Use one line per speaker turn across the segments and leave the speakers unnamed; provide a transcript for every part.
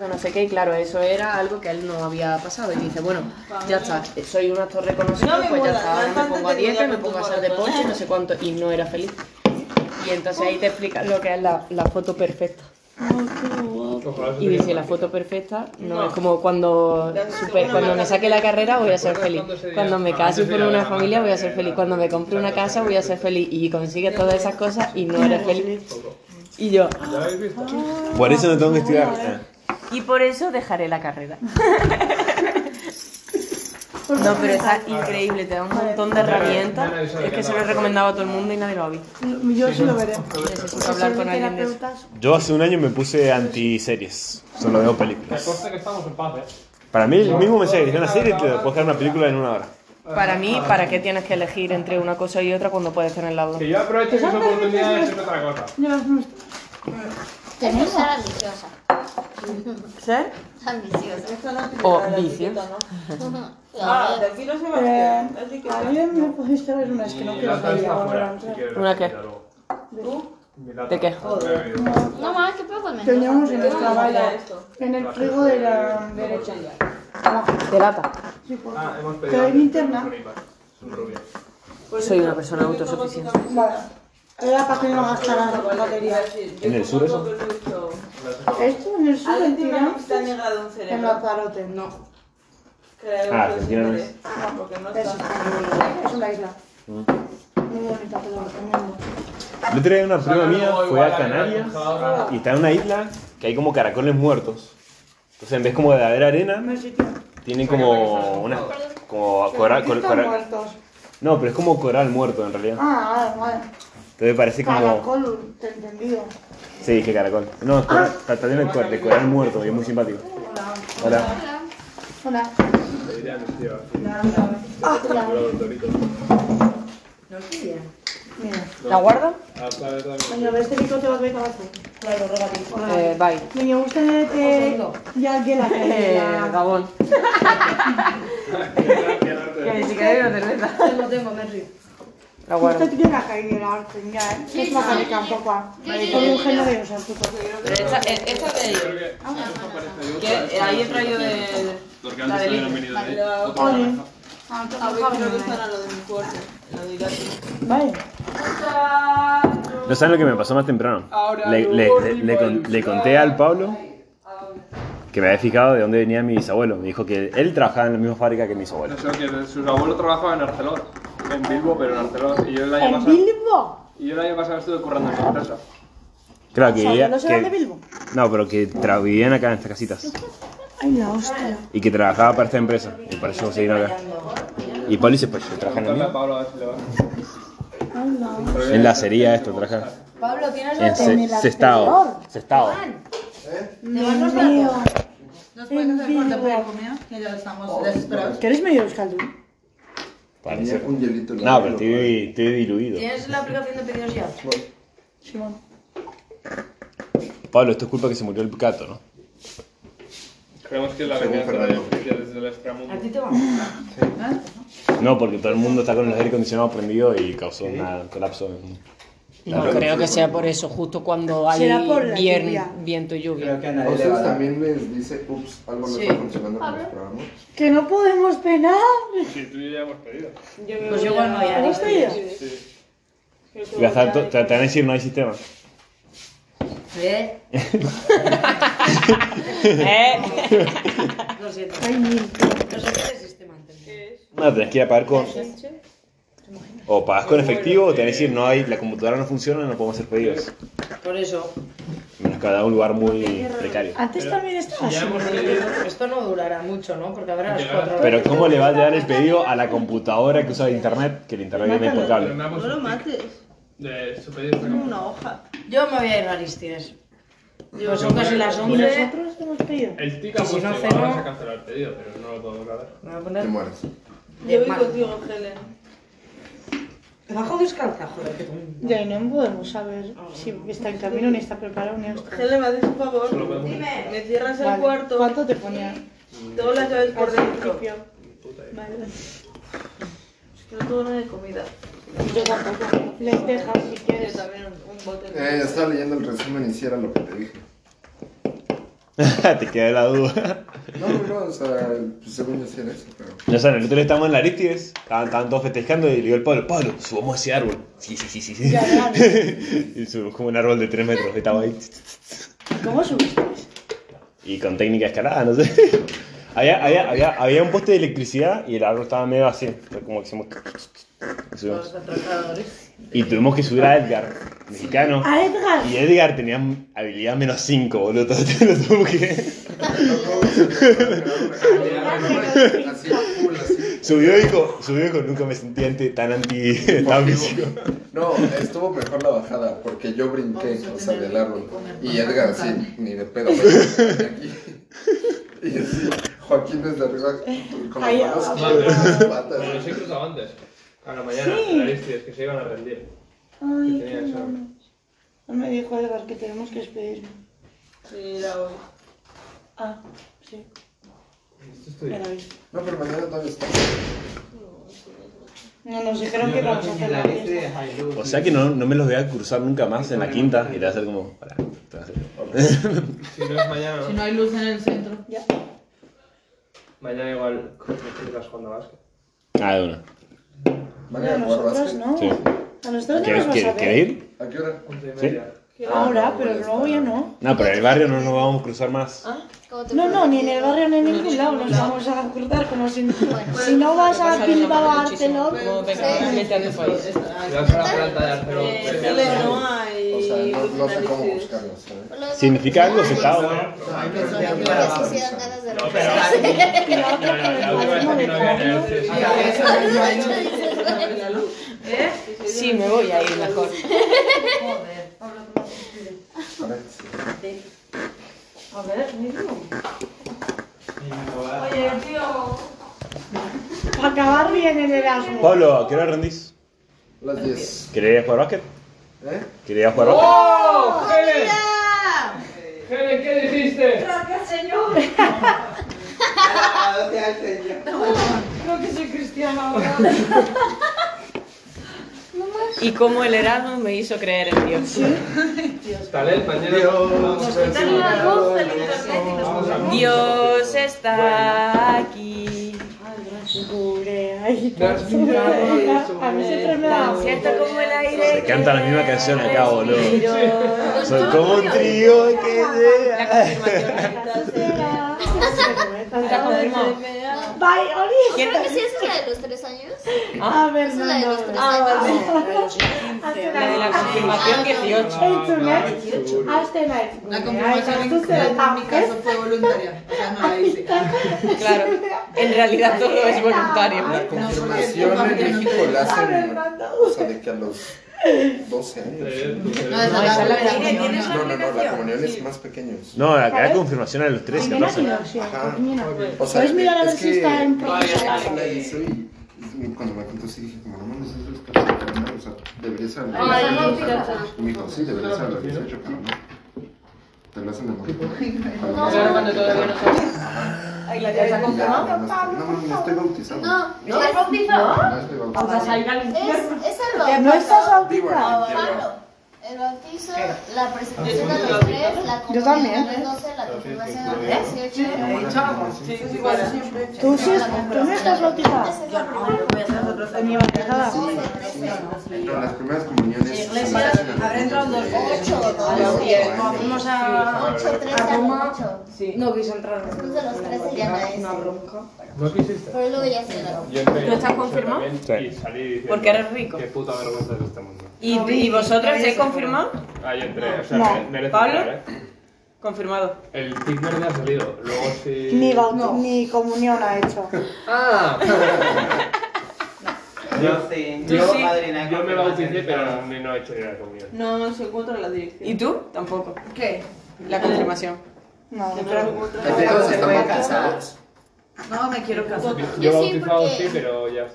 no sé qué, y claro, eso era algo que a él no había pasado. Y dice, bueno, ya está, soy un actor reconocido,
No me
pues ya
mola,
está, ahora me
bastante
pongo a
te
dieta,
cuidas
me
con
pongo a
tus
hacer deporte,
hormonas.
no sé cuánto, y no era feliz. Y entonces ahí te explica lo que es la, la foto perfecta.
Ojalá
Y dice, la foto perfecta no,
No.
es como cuando,
Ya, seguro
super-
me
cuando me
mandas-
saque la carrera voy a ser
¿Recuerdas
feliz.
cuando se
Cuando
llama-
me case
antes
con
era
una
la
familia voy a ser
manera,
feliz. Cuando me compre una
exacto,
casa voy a ser
exacto.
feliz. Y consigues todas esas cosas y no eres feliz.
Foto.
Y yo,
¿Ya habéis visto?
Por eso no tengo que estudiar.
y por eso dejaré la carrera. No, pero está increíble, te da un montón de herramientas. Es que se lo he recomendado a todo el mundo y nadie lo ha visto.
Yo sí lo veré.
Necesito hablar con alguien de eso.
Yo hace un año me puse anti-series. Solo veo
Me
películas.
consta que estamos en paz, ¿eh?
Para mí, el mismo mensaje que tiene una serie te puedes crear una película en una hora.
Para mí, ¿para qué tienes que elegir entre una cosa y otra cuando puedes tener las dos?
Que yo aprovecho esa oportunidad de hacer otra cosa.
Yo las no-
Tenemos que ser ambiciosa.
¿Ser?
Ambiciosa.
O vicios.
Ah, de aquí no se va
Eh,
a Así que
Ayer me pusiste a ver unas que no
La
quiero
lata
salir
está
ahora.
afuera, si quieres.
¿Una qué?
tú.
¿De qué?
No más, que poco menos.
Teníamos en
Pero
nuestra
no
valla,
sabía esto.
en el frigo de la derecha. Abajo.
Te lata.
Sí, pues. por
Ah, hemos
¿Te
pedido.
doy
antes,
linterna?
son rubia. Son rubia.
Pues
Soy una persona autosuficiente.
Vale. Era para que no gastara batería.
¿En el sur eso?
Esto en el sur en
Argentina no
Tirán,
está negado un
en
cerebro.
los parotes, no.
Creo
Ah,
que sí
Argentina no
que
es.
es. Ah, Porque no
Es,
está.
es una isla. Muy bonita, te lo recomiendo.
El otro día una prima mía fue a Canarias y está en una isla que hay como caracoles muertos. Entonces en vez como de haber arena,
No sé, tío.
tienen como una... como coral... cor-
Están
coral-
muertos.
No, pero es como coral muerto en realidad.
Ah, vale, vale.
Entonces parece como...
Caracol, te he entendido.
Sí, dije caracol. No, es coral, está está lleno de cor- de coral muerto y es muy simpático. Hola.
Hola.
Te diría, tío,
Ah, hola.
los doritos.
Mira.
¿La guardo?
Hasta de también.
Cuando ves este pico te vas a ver abajo. Hola.
Eh, bye.
Me gusta eh, ya que la
Eh,
que
Gabón. Que ni siquiera hay una cerveza.
Lo tengo, me río.
La guardo.
Esto tiene la caída de la arte, ya, ¿eh? Es una caída un poco. ah. Con un genio de usar puto.
Pero esta, eh, esta que hay,
Eh,
que eh, ahí he traído de... La de Lidl.
Oye.
A ver, creo que están a lo de mi fuerte. en Lo de Irati.
Vale.
No saben lo que me pasó más temprano. Le, le- le- le con- le conté al Pablo que me había fijado de dónde venía mi bisabuelo. Me dijo que él trabajaba en la misma fábrica que mi bisabuelo.
Eso que sus abuelos trabajaban en Arcelor. En Bilbo, pero en Arcelor. Y yo el año
¿En
pasado.
Bilbo?
Y yo el año pasado estuve currando en esa empresa.
Claro que
¿Sabes?
ella-
¿No serán
que-
de Bilbo?
No, pero que tra- vivían acá en estas casitas.
Ay, la hostia.
Y que trabajaba para esta empresa. Y por eso se vino acá. Y Pablo dice, pues yo trabajé en
Contarle
la
a
misma.
Pablo a ver si le va.
Ay, la hostia.
Pero
En la
ya-
acería esto, trabajaba.
Pablo, tienes
En
los
Se- Sestao. Sestao.
Dios mío.
dos puestos de corte precomido, que ya estamos desesperados.
¿Que eres medio euskaldun?
Parece.
Un hielito en la
No, pero
mano.
estoy, estoy diluido.
¿Tienes la aplicación de pedidos ya?
Simón.
Pablo, esto es culpa que se murió el gato, ¿no?
Creemos que es la
Según
venganza de la
Fernando.
justicia desde el extramundo.
¿A ti te va a gustar?
No, porque todo el mundo está con el aire acondicionado prendido y causó un colapso. en-
No creo que sea por eso, justo cuando hay
Será por la
vier-
lluvia.
viento y lluvia.
Creo que a nadie le va
¿Ustedes
a dar.
también les dice, ups, algo no está funcionando con los programas?
¿Que no podemos penar?
Sí, tú y yo ya hemos pedido.
Pues yo igual no voy a
¿Te
ir.
gusta ella?
Sí.
Y vas a- te, te van a decir no hay sistema.
¿Eh?
¿Eh?
Lo siento.
Ay, mil.
Lo siento de sistema antes.
No, tenés que ir a pagar con. O pagas con efectivo o te van a decir no hay, la computadora no funciona, no podemos hacer pedidos.
Por eso,
Menos que da un lugar muy precario.
Antes también estaba
Ya
así.
hemos pedido.
esto no durará mucho, ¿no? Porque habrá las
Llegará.
cuatro
Pero ¿cómo le va a llegar el pedido a la computadora que usa internet? Que el internet viene por
Pero me
cable.
ha puesto
No lo
un tic
mates.
De su pedido está
Es
como-
una hoja.
Yo me voy a ir a Aristires. Digo, son casi las
¿Y
11.
nosotros hemos pedido?
El tic ha
Y si
puesto
no
igual, vamos
ceno-
a cancelar el pedido, pero no lo podemos grabar.
Me voy a
Te
poner
mueres. Eh,
Yo
de
voy
mal.
contigo, Helen.
Bajo descalza, joder, que tú-
Ya, no podemos saber si está en camino ni está preparado ni hasta.
Helen, me haces un favor.
Solo podemos-
Me cierras el
Vale.
cuarto.
¿Cuánto te ponía?
Todas las llaves por
Al
dentro.
principio. Vale.
Es que no tengo nada de comida.
Yo tampoco. Les dejas si
Yo
quieres.
también un bote.
Eh, estaba leyendo el resumen y sí era lo que te dije.
Te queda la duda.
No, no, no, o sea, pues, según yo sí era eso, pero.
No sé, nosotros estábamos en la Aristides, estaban, estaban todos festejando y le digo al Pablo, Pablo, subamos a ese árbol. Sí, sí, sí, sí. sí. y subimos como un árbol de 3 metros, y estaba ahí.
¿Cómo subiste?
Y con técnica de escalada, no sé. Había, había, había, había un poste de electricidad y el árbol estaba medio así. Fue como que hicimos... y subimos. Y tuvimos que subir a Edgar, mexicano.
A Edgar.
Y Edgar tenía habilidad menos 5, boludo. Entonces lo tuvo que...
Así, full, así.
Subió y dijo, subió y dijo, nunca me sentí ante- tan anti... tan físico.
No, estuvo mejor la bajada porque yo brinqué, o sea, del árbol. Y Edgar así, ni de pedo. güey, aquí. Y así, Joaquín desde arriba con
Ahí
las manos
abajo.
sobre sus patas.
Pero los he cruzado antes. A la mañana,
Sí.
en Aristides, que se iban a rendir.
Ay,
Que
qué
tenía esa-
bueno. No me dijo Edgar que tenemos que despedirnos.
Sí, era hoy.
Ah, sí,
Esto es tu día.
era hoy.
No, pero mañana todavía está.
No nos dijeron que vamos a hacer la
este.
fiesta.
O sea que no, no me los voy a cruzar nunca más en la quinta y le voy a hacer como... "Hola, te vas a hacer".
Si no es mañana,
Si no hay luz en el centro.
Ya.
mañana igual me chicas jugando a básquet.
Ah, de una.
Pero a
Mañana jugar
nosotros
básquet.
no.
Sí.
A nosotros no
¿Quieres,
nos vas a
quieres, ¿Quieres
ver.
ir?
¿A qué hora?
Once y media.
Ah,
Ahora, pero luego ya no.
No, pero en el barrio no nos vamos a cruzar más.
¿Cómo te
Ah, No,
fue?
no, ni en el barrio ni en ningún lado nos vamos a acordar como si, si no vas a Bilbao a Arcelor.
Como venga, a tu país.
Si vas a la planta de Arcero,
Eh,
premia.
Sale Noa y.
O sea, no, no sé cómo buscarlo, ¿sabes?
Los-
Significa algo, se está...
Ay,
Los
pero ya
niños
está.
sí dan ganas de
No,
romper.
pero-
Y la
No,
otra con
no,
el
la última vez
padrino
que
de
no había en el
Pablo.
Aristides.
Sí, me voy a ir mejor.
Joder, Pablo, ¿cómo se escribe?
A ver, sí.
A ver, mismo.
Acabar bien el Erasmus.
Pablo, ¿a qué hora rendís?
Las 10.
¿Querías jugar básquet?
¿Eh?
¿Querías jugar básquet?
¡Oh, Helen! Helen, ¿qué dijiste?
Creo que soy cristiana ahora.
Y como el Erasmus me hizo creer en Dios.
Dale, el pañuelo.
Dios,
Dios
eh.
está aquí.
Cure, ay,
Transpirado.
eh, A mí siempre me da
Tan cierto como el aire.
Se canta la
que
misma canción acá, boludo.
respiro.
Soy como un trío que sea.
La confirmó.
Bye,
Creo
Ori.
que sí, esa es la de los tres años.
A ver, Ah,
Esa es la de los
Nando.
tres años.
La de la confirmación
Ah,
18.
Hey, tonight. Hasta ¿eh? night.
La
Ay,
confirmación en,
tú serás
en mi caso fue voluntaria. O sea, no la hice.
Claro. En realidad todo es voluntario.
La confirmación en México la hacen, o sea, de que a los 12 años.
Eh,
No, esa
No,
es
esa
la
es la de la
comunión.
comunión.
No, no, no, la comunión es más pequeños.
No, la que da confirmación a los 13,
Ay, mira,
14 años.
tío, sí,
Ajá.
mira.
O sea,
Puedes mirar a ver
es
si
que-
está en
Todavía
proceso.
no la hizo y- y Cuando me contó, sí dije, como no mames, eso es casi que no, o sea, debería ser a los 18 caramba. Y me dijo, sí, debería ser a los 18, caramba. Te lo hacen de morrito. Cuando
No.
me hacen de morrito,
Ay, la ya se ha
ya, ya,
confirmado.
ya no estoy- No, mames, estoy bautizado.
No, ¿la bautizó?
No estoy bautizado.
Es, es el
No estás
bautizo.
Digo,
bautizado.
en tierra.
Pablo, el bautizo, la presentación a los tres, la
Yo
confirmación
también.
a los doce, la confirmación a los dieciocho.
Tú Pues sí, tú no estás bautizada.
Esa es la primera.
Ni bautizada.
No, las primeras comuniones. se las hacen a los
habrá entrado
niños de-
ocho,
de
¿no?
ocho
Sí,
años.
Vamos a.
Ocho, trece, a lo ocho.
No quise entrar.
Después de los trece ya no es.
¿No quisiste?
Pero luego ya se da.
Yo entré en
¿No estás
la bolsa
confirmado?
también
Sí.
Y salí diciendo,
Porque eres rico.
Qué puta vergüenza es este mundo.
¿Y, y vosotros se confirmado?
Ah, yo entré. O sea,
No.
me- merece
¿Pablo?
entrar, ¿eh?
Confirmado.
El Tinder me ha salido. Luego sí.
Ni, baut- ni comunión ha hecho.
Ah,
Yo sí.
Tú
yo,
sí.
yo me bauticé, pero ni- no he hecho ni la comunión.
No se encuentra la dirección.
¿Y tú? Tampoco.
¿Qué?
La confirmación.
No,
No se
pero-
encuentra la
Entonces,
dirección.
¿están bautizados?
No, me quiero casar.
Yo
Yo sí,
bautizado
porque-
sí, pero ya.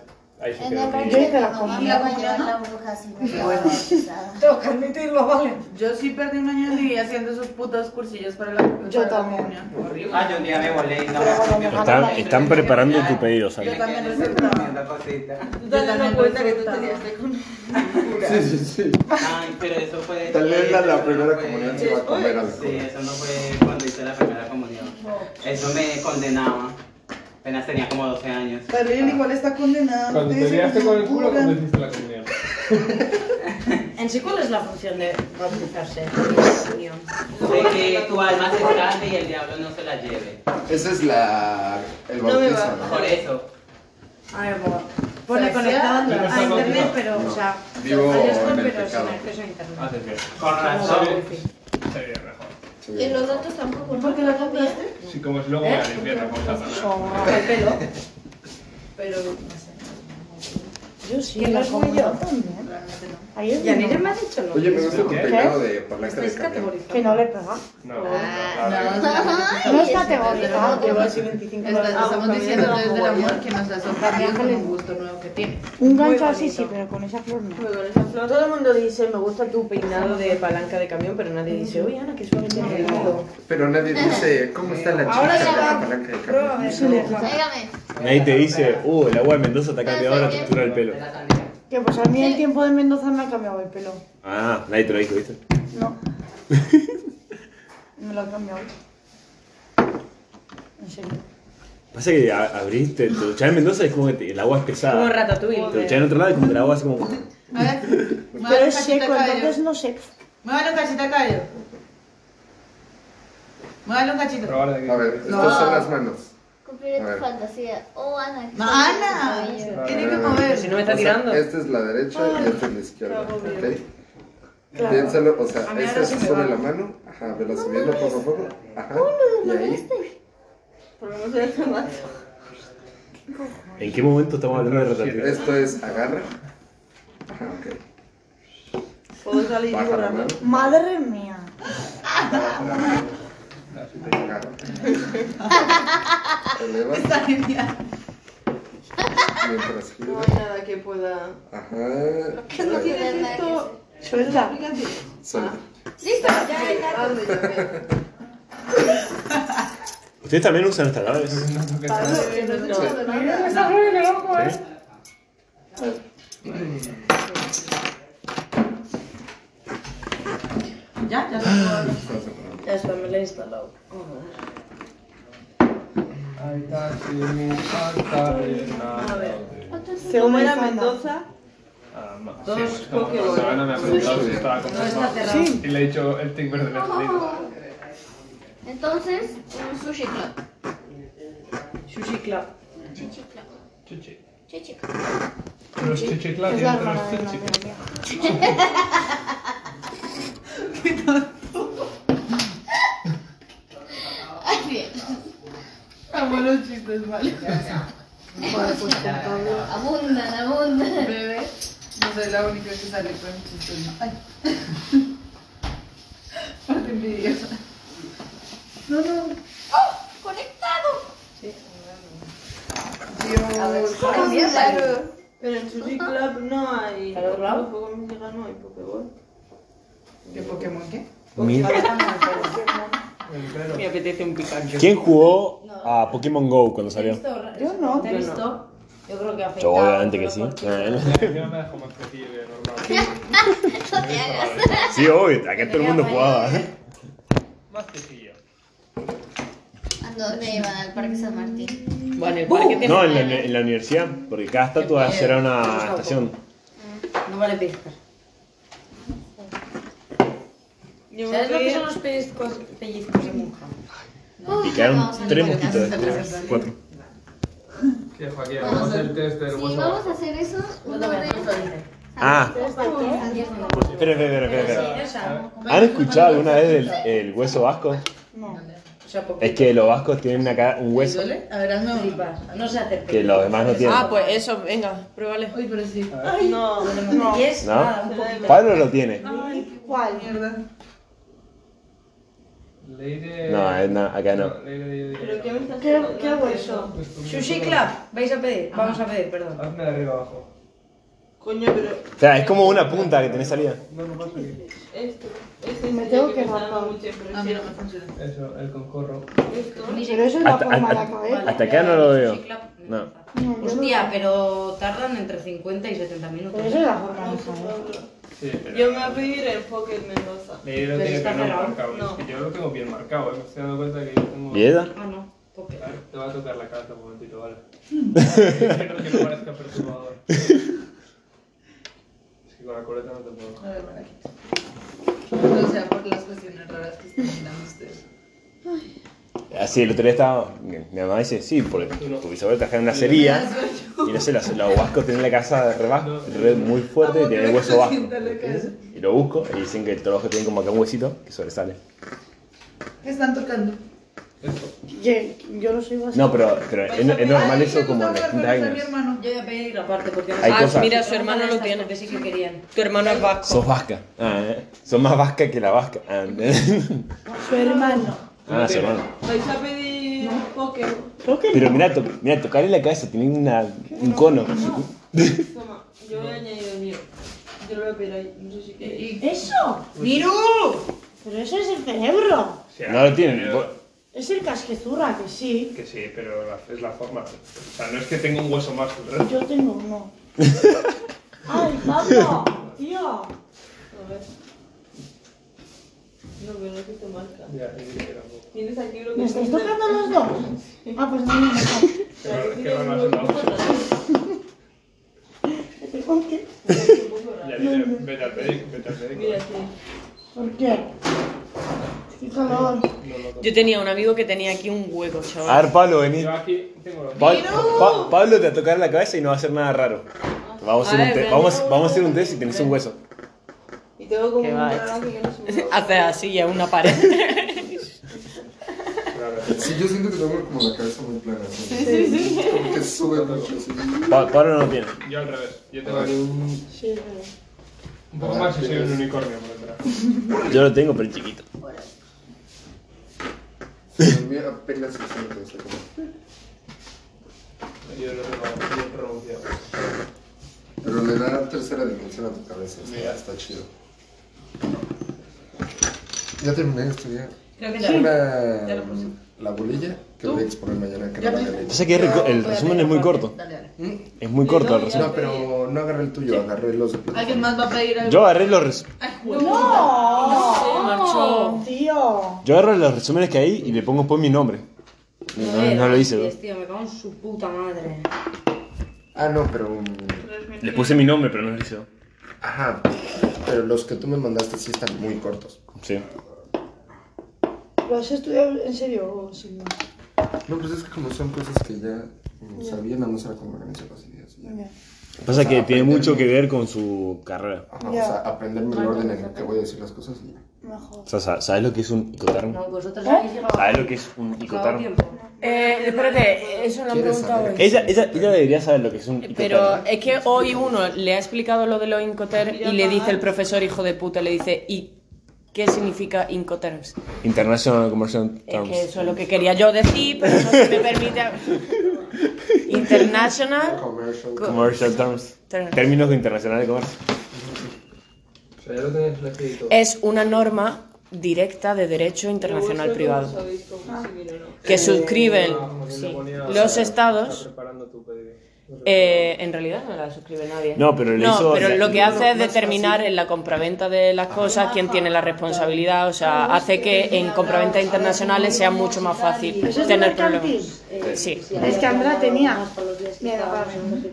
Ahí se
En el
quedó.
parque
Yo hice la
cuando
comunión.
mamá iba a llevar la bruja así, me estaba bautizada.
Tengo que admitirlo, vale. Yo sí perdí un año de vida haciendo esos putos cursillos para la para
Yo
la
también.
comunión. Horrible.
Ah, yo un día me volé y
Pero
no
bueno, mejor
me
no la
Están, están preparando tu pedido,
Yo
Sally.
también
quedé
resultaba.
comiendo cositas.
Tú te das cuenta que tú tenías que con.
Sí, sí, sí.
Ay, pero eso fue.
Tal vez la- la
eso no
primera
fue- eh,
comunión se va a comer algo.
Sí, eso no fue cuando hice hice la primera comunión. Eso me condenaba. Apenas tenía como 12 años.
Carlín igual está condenada.
Cuando te liaste con el culo, cuando hiciste la comunión.
En sí, ¿cuál es la función de bautizarse? Unión.
De que tu alma se salve y el diablo no se la lleve.
Esa es la. el
No me
bautizo,
va.
¿no?
Por eso.
A ver, bueno, pone
O sea,
conectado
sea-
a internet, pero,
No.
o sea,
Vivo
a Discord,
en el
pero
pecado.
sin acceso a internet.
Con razón.
Sí.
los datos tampoco.
¿Por qué lo cambiaste?
Sí, como es luego me
¿Eh?
la limpieza con
Pues,
Satanás.
El pelo. Pero, no sé. Yo sí, lo soy yo. También. Yanire me ha dicho no.
Oye, me gusta tu
¿Qué?
peinado de palanca
Pues
de
Estáis
camión.
categorizando. Que no le pega.
No,
No es categorizado.
Llevo así 25
Está- Estamos diciendo desde el
amor.
amor que nos ha sorprendido con un gusto nuevo que tiene.
Un gancho así sí, pero con esa flor no.
Todo el mundo dice, me gusta tu peinado de palanca de camión, pero nadie dice, oye Ana, qué suave te has peinado.
Pero nadie dice, ¿cómo está la chica
Ahora
de
ya
la
va.
palanca de camión?
No se le
Dígame.
Nadie te dice, uh, el agua de Mendoza te ha cambiado la textura del pelo.
Que pues a mí el tiempo de Mendoza me ha cambiado el pelo.
Ah, nadie te lo dijo, ¿viste?
No. Me lo ha cambiado. En serio.
Pasa que a- abriste, te duchás en Mendoza y es como que te- el agua es pesada.
Como
Te
ratatouille.
duchás en otro lado y como que el agua es como.
A ver,
Pero
muévalo
es seco,
cachita
entonces
callo.
no sé.
Muévalo cachita callo. Muévalo cachito.
probar de que.
A ver, estas
No.
son las manos.
Cumpliré
A
tu
ver.
fantasía. Oh, Ana.
No, Ana, tiene que
Si
mover.
no me está
Eh, O sea,
tirando.
esta es la derecha y esta es la izquierda. ¿ok?
Claro.
Piénsalo, o sea,
A mí
esta
ahora
es
sí me
solo
va.
la mano. Ajá, vela subiendo poco a poco. Ajá. Y ahí.
¿En qué momento estamos hablando de ratatouille?
Esto es agarra. Ajá, ok.
Puedo salir
Baja la mano.
Madre mía.
Agarra. Eleva.
Está genial.
Mientras gira.
No hay nada que pueda.
Ajá.
No tiene esto.
Suelta.
Suelta.
Listo, ya hay nada.
¿Ustedes también usan estas naves?
Ya, ya se puedo.
Ya está, me lo he instalado.
Ay, taxi, mi santa reina.
Según
Como era
mi fama.
Mendoza,
Ah, no,
Dos
sí, es como
Pokémon.
cuando Ana me ha preguntado si estaba con
No está cerrado.
Sí.
Y le he dicho el tic verde
Oh. Entonces, un sushi club.
Sushi Club.
Chichi club.
Chuchi.
Chichi club.
Los chichiclas
Es
y
la
entre
hermana
los
de la
chichiclas.
mía.
Ay, bien.
amo los chistes malos.
Abundan, abundan.
Bebé, no soy la única que sale con chistes malos. Parte envidiosa. No, no.
¡Oh! ¡Conectado!
Dios.
Claro.
Pero en Sushi Club no hay.
¿Claro, claro?
En Pokémon Liga no hay Pokéball.
¿Qué Pokémon qué?
Me apetece un Pikachu.
¿Quién jugó a Pokémon Go cuando
¿Te he
salió?
visto?
Yo no,
¿Te he
yo
visto? Yo creo que afecta.
Yo, obviamente que sí.
Yo no me dejo más que de normal.
No te hagas.
Sí, obvio, acá todo el mundo jugaba.
eh,
Más quejillo.
¿A dónde iban? Al Parque San Martín.
Bueno, el parque
eh,
tiene...
No, en la, en la universidad, porque cada estatua era una estación.
eh,
No vale pellizcar.
Yo me
¿Sabes lo que
fui-
son los pellizcos, pellizcos de monja?
Y
Uy,
quedaron
Oh, vamos a
tres
limpiar
mosquitos.
casa.
tres, Cuatro.
Que Joaquín, vamos a hacer el test del
Si
hueso.
vamos a hacer eso, uno de
Ah. Espera, espera, espera, espera, espera. ¿Han escuchado alguna vez del el hueso vasco?
No.
O sea, porque
Es que los vascos tienen acá un hueso
A ver, hazme uno.
flipas. No se hace
que los demás no tienen.
Ah, pues eso, venga, pruébale.
Uy, pero sí.
No,
No. Y es
¿No?
nada, pues. Ah, un poquito.
Pablo lo tiene.
¿Cuál?
Leire.
No, eh, no, acá no.
Leire, Leire, Leire,
¿Pero qué me estás
¿Qué,
haciendo?
qué hueso?
Pues tú,
Sushi
tú,
Club, vais a pedir, vamos a pedir, perdón.
Hazme de arriba abajo.
Coño, pero
O sea, es como una punta que tenés salida.
No, no pasa aquí.
esto. Este
Me
es
tengo
el
que
me está dando
rapar.
mucha impresión.
Eso, el concorro.
Esto.
Pero eso es la
Hasta-
forma de la
hasta-
cabeza.
hasta acá no lo veo.
Sushi Club,
No.
No, yo no-
Hostia, pero tardan entre 50 y 70 minutos.
Pero eso ¿eh? es la forma de la cabeza.
Sí, pero-
Yo me voy a pedir enfoque en Mendoza.
Leí lo tiene que tener marcado. Es que yo lo tengo bien marcado, eh, me estoy dando cuenta que yo tengo.
¿Y ella?
Ah, no. ¿Por qué?
Claro, te va a tocar la cabeza un momentito, ¿vale? Quiero que no parezca perturbador. Es que con la coleta no te puedo.
A ver, me la quito. O sea, por las cuestiones raras que están mirando ustedes.
Así, el otro día estaba. Mi, mi mamá dice, sí, porque tu bisabuela trabajaba en una cería. Y no sé, los, los huascos tienen la casa de rebajo, re muy fuerte y tiene el hueso bajo. Y lo busco y dicen que todos los que tienen como acá un huesito que sobresale.
¿Qué están tocando?
Yo, yo no soy vasco.
No, pero, pero es, es normal eso como en los 30 años.
Yo voy a pedir aparte porque
Hay
Ah,
cosas.
mira, su hermano lo tiene.
Que sí que querían.
Tu hermano es vasco.
Sos vasca. Ah, ¿eh? Sos más vasca que la vasca. Ah, ¿eh?
Su hermano.
Ah, su hermano.
Vais a pedir enfoque.
Pero mira, to, mira tocarle la cabeza, tiene una, un cono.
Toma, yo voy a añadir el mío. Yo lo voy a pedir ahí. No sé si queréis.
¡Eso! ¡Miru! Pero eso es el cerebro.
No lo tienen.
Es el casquezurra, que sí.
Que sí, pero la- es la forma. O sea, no es que tenga un hueso más que el resto.
Yo tengo uno. ¡Ay, Pablo! ¡Tío!
A ver. No, pero no que te marca.
Ya, sí, sí, era un-
Tienes aquí lo que
¿Me estáis
dice-
tocando los dos? Ah, pues no me toca.
Qué raro- qué raro ha sonado. Ya dile, vete al médico, vete al médico.
¿Por qué? ¡Qué calor!
Yo tenía un amigo que tenía aquí un hueco, chaval.
A ver, Pablo, vení.
Yo aquí tengo los.
Pa- Pa- Pablo te va a tocar la cabeza y no va a hacer nada raro. Vamos a hacer
A
un
ver,
test.
ven.
Vamos, vamos a hacer un test si tenés un hueso.
Y tengo como
Qué
un
va,
rato que no se me
Hace así a una pared.
Sí, yo siento que tengo como la cabeza muy plana. Sí,
sí, sí.
Como que sube mucho. así.
Pa- Pablo no lo tiene.
Yo al revés. Yo tengo
Vale,
aquí
un-
Sí, es verdad.
un poco más y soy un unicornio por detrás.
Yo lo tengo, pero chiquito.
se me apenas se siente, o sea, como-
Yo lo tengo bien pronunciado.
Pero le da tercera dimensión a tu cabeza. Está, está chido. Ya terminé de estudiar.
Creo que
Una,
ya.
la bolilla que voy a exponer mañana. Que no la gané.
Pasa que es reco- el resumen es muy corto. Es muy corto el resumen.
No, pero no agarré el tuyo, agarré los de plata.
¿Alguien más va a pedir algo?
Yo agarré los res-
¡No!
Se marchó.
¡Tío!
yo agarro los resúmenes que hay y le pongo después mi nombre. No, no- no lo hice.
Gracias,
¿no?
tío, me cago en su puta madre.
Ah, no, pero. um,
Le puse mi nombre, pero no lo hice. ¿no?
Ajá. Pero los que tú me mandaste sí están muy cortos.
Sí.
¿Lo has estudiado en serio Oh, o sin más?
No, pues es que como son cosas que ya um, sabía, nada más era como organizar las ideas. y ya.
Pasa que tiene mucho que ver con su carrera.
Ajá, O sea, aprenderme el orden en el que voy a decir las cosas y ya.
Mejor.
O sea, sa- ¿sabes lo que es un icotarmo?
No, vosotros habéis llegado.
¿Sabes lo que es un icotarmo?
tiempo.
Eh, espérate, eso lo han
¿Quieres
preguntado
saber?
hoy.
Ella, ella, ella debería saber lo que es un
Pero
icotarmo.
es que hoy uno le ha explicado lo de los incoterms y le dice el profesor, hijo de puta, le dice, ¿y qué significa incoterms?
International Commercial
Es
Terms.
Eh, que eso es lo que quería yo decir, pero no se me permite. International.
Commercial.
Co-
Commercial Terms.
Terms.
Términos internacionales de comercio.
O sea, ya lo tenéis escrito.
Es una norma directa de derecho internacional
Vosotros
privado
sabéis cómo seguir o no.
que suscriben
Como que le
sí,
ponía-
los
está
estados.
preparando tu pedido.
eh, en realidad no la suscribe nadie.
No, pero le hizo-
pero
le-
lo que hace es
más
determinar en la compraventa de las cosas quién tiene la responsabilidad. O sea, hace que en compraventas internacionales sea mucho más fácil
¿Eso es
tener problemas.
mercantil?
Sí.
Es que Andra tenía miedo,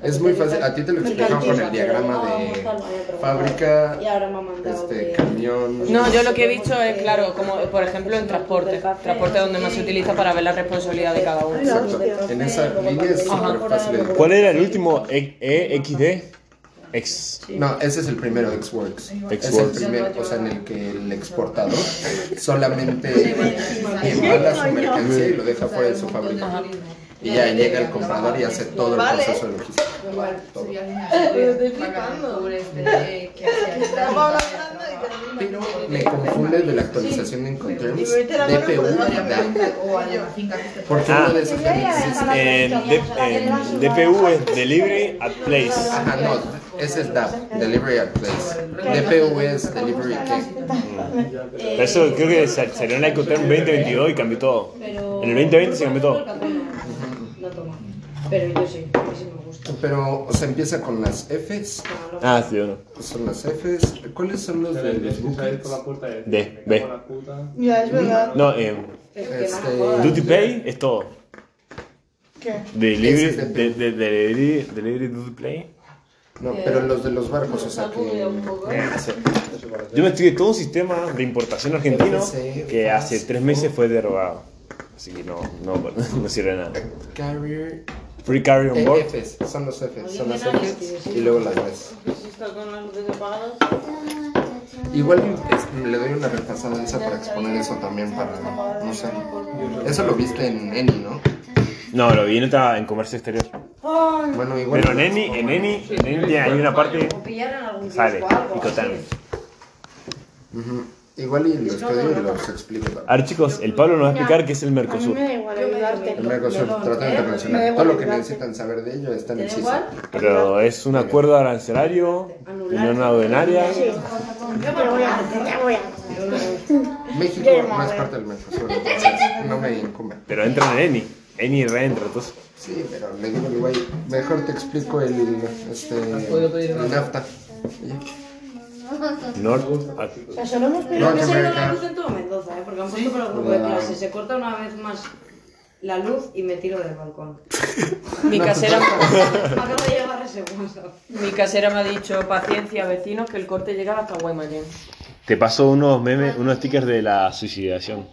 Es muy fácil, a ti te lo explican con el diagrama de fábrica,
Y ahora me ha mandado
este,
que-
camión.
No, yo lo que he visto es, claro, como por ejemplo en transporte. Transporte donde más se utiliza para ver la responsabilidad de cada uno.
Exacto. En esa línea es súper fácil. de-
¿Cuál era el último? E- EXD. Ex.
No, ese es el primero, Xworks. Es el
Xworks.
primero, o sea, en el que el exportador solamente embala su mercancía y lo deja fuera de su fábrica. Y ya llega el comprador y hace todo el
Vale.
proceso de logística.
Igual, sería genial.
Pero estoy
Pagar
flipando.
por este, eh, que hacía-
Estamos hablando de que no me
Pero
imagino.
me confunde de la actualización de Incoterms, DPU y DAP.
O a la finca que está-
Porque
Ah.
uno de esos también existe.
Eh, de- eh, DPU es Delivery at Place.
Ajá, no, ese es DAP, Delivery at Place. DPU es Delivery Case.
Pero Eso creo que sa- salió en la Ecoterm 2022 y cambió todo.
Pero...
En el 2020 se cambió todo.
No toma. Pero yo sí, a mí sí me gusta.
Pero, o sea, empieza con las Fs.
Ah, sí, uno.
Son las Fs. ¿Cuáles son los de los
Salir
buques?
por la puerta de...
D, B.
Ya, es verdad.
No, eh,
Este,
duty pay es todo.
¿Qué?
Delivery, de, de, delivery, delivery duty pay.
No, pero los de los barcos, o sea, que...
Ah, sí. Yo me estudié todo un sistema de importación argentino que hace tres meses fue derogado. Así que no, no, no sirve de nada.
Carrier...
Free carry on board.
Eh, Fs, son los Fs, son las Fs y luego las Bs.
Si está con las luces apagadas.
Igual es- le doy una repasada a esa para exponer eso también para, no sé. Eso lo viste en Eni, ¿no?
No, lo vi en, otra- en comercio exterior.
Bueno, igual...
Pero en Eni, en Eni, en Eni hay una parte
O pillaron algún
sale
disco o algo.
y total.
Ujú. Igual y lo estudio y los explico también.
A ver chicos, el Pablo nos va a explicar qué es el
A mí
Mercosur.
me da igual ayudarte.
El Mercosur,
Perdón,
Tratado
¿eh? Me da
Internacional.
igual
Todo lo que
ayudarte.
necesitan saber de ello está en el
da
CISA.
igual?
Pero es un acuerdo arancelario, unión aduanaria.
Sí. Yo me voy a meter, me voy a
México
Yo me
no es
voy.
parte del Mercosur, entonces no me incumbe.
Pero entra en Eni. Eni reentra, entonces.
Sí, pero le digo al güey, mejor te explico el, este, el NAFTA.
North Atlantic.
O sea, solo hemos
No,
pedido que
que
se vea
me-
la luz en todo Mendoza, ¿eh? porque han puesto por el grupo de
Cuidado.
clase. Se corta una vez más la luz y me tiro del balcón.
Mi casera,
Me acabo de llegar ese WhatsApp.
mi casera me ha dicho, paciencia vecinos, que el corte llega hasta Guaymallén.
Te pasó unos memes, unos stickers de la suicidación.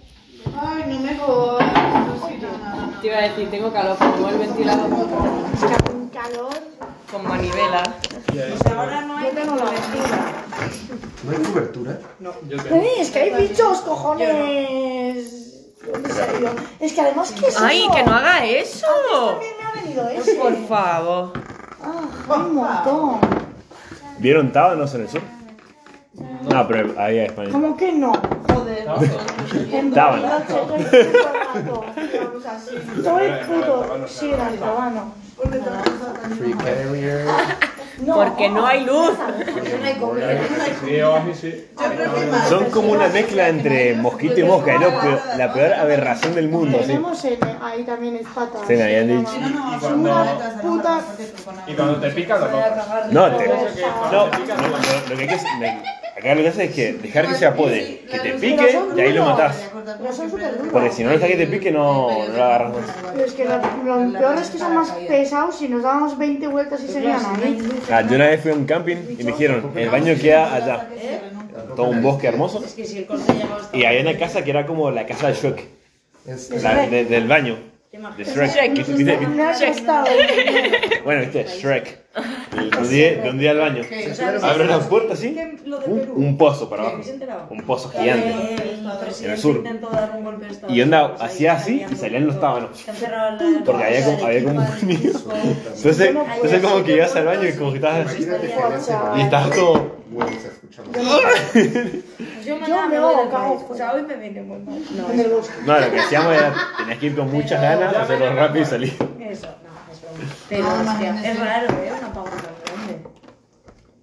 Ay, no me jodas. No sirve nada.
Te iba a decir, tengo calor, como el ventilador.
Un calor.
Con manivela.
Yo tengo la vestida.
¿No hay cobertura?
Yo tengo.
Ay, Es que hay bichos, cojones. ¿Dónde salió? Es que además, ¿qué es
¡Ay,
eso?
que no haga eso!
También me ha venido ese.
Por favor.
Ah, un montón.
¿Vieron Tábanos en el sur? No, pero ahí es España.
¿Cómo que no? Joder. En
Tábano.
Bariloche, todo el puto rato. Todo el puto. Sí, era el tábano.
Free carrier.
Porque no hay luz.
Sí, a mí sí.
Son como una mezcla entre mosquito y mosca, ¿no? Pe- La peor aberración del mundo, sí.
Tenemos en, ahí también es patas.
Sí, me habían dicho.
Son unas putas.
Y cuando te pica, lo compras.
No, te, no, no, no, lo que hay que hacer- acá lo que haces es que dejar que se apode, que te pique y ahí lo matás.
Pero son súper duros.
Porque si no dejas que te pique, no, no lo agarras más.
Pero es que lo, lo peor es que son más pesados y nos dábamos 20 vueltas y ¿eh? seguían ahí.
Ah, yo una vez fui a un camping y me dijeron, el baño queda allá.
¿Eh?
Todo un bosque hermoso.
Es ¿eh? que si el corte llegaba hasta.
Y había una casa que era como la casa de Shrek,
Este,
la, de- del baño. De Shrek. ¿Viste- viste- viste-
No he estado.
Bueno, viste, Shrek. Donde iba- donde iba al baño. Abro la puerta así, un, un pozo para abajo. Un pozo gigante.
En
el sur.
Intentó dar un golpe de estado.
Y onda, hacía así y salían los tábanos.
Se han cerrado la.
Porque había como, había como un nido. Entonces, entonces como que ibas al baño y como que estabas así.
Imagínate que en ese
Y estabas como.
güey se escuchaba.
Yo
Yo
mañana me
me pues. voy
voy
a
del
cagar.
país. O sea, hoy me viene muy mal. No,
En el
eso.
bosque.
No, lo que hacíamos era tenías que ir con muchas ganas, hacerlo rápido y salir.
Eso, no, es broma. Pero, hostia, es raro, ¿eh? Una pago tan grande.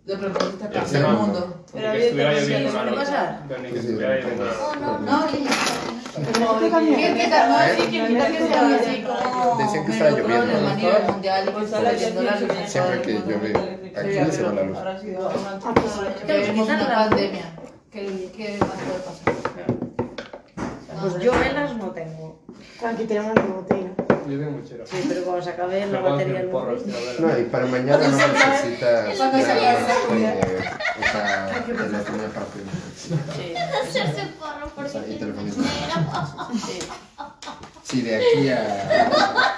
De propósito,
El
acá.
tema, ¿no?
Ni que estuviera lloviendo una
¿Qué
noche.
pasa?
Ni que estuviera lloviendo una noche.
Yo también.
¿Qué tal? No, así que mira que estaba así como.
Decían que estaba
Melocotón,
lloviendo,
el
¿no?
manido del mundial y que estaba yendo la luz.
Siempre que llueve, aquí se va la luz.
Que vivimos una pandemia. ¿Qué qué más puede pasar?
Pues yo velas no tengo.
Aquí tenemos la botella.
Yo tengo muchero.
Sí, pero cuando se acabe la
Me puedo
batería
hacer
del
porros,
móvil.
tío, a ver.
No, y para mañana no
Cuando
necesitas
se
nada
vaya a
más
hacer
que, o sea, de la primera parte.
Hacerse porro porque
Ahí
tiene
telefonito.
dinero.
Si de aquí a,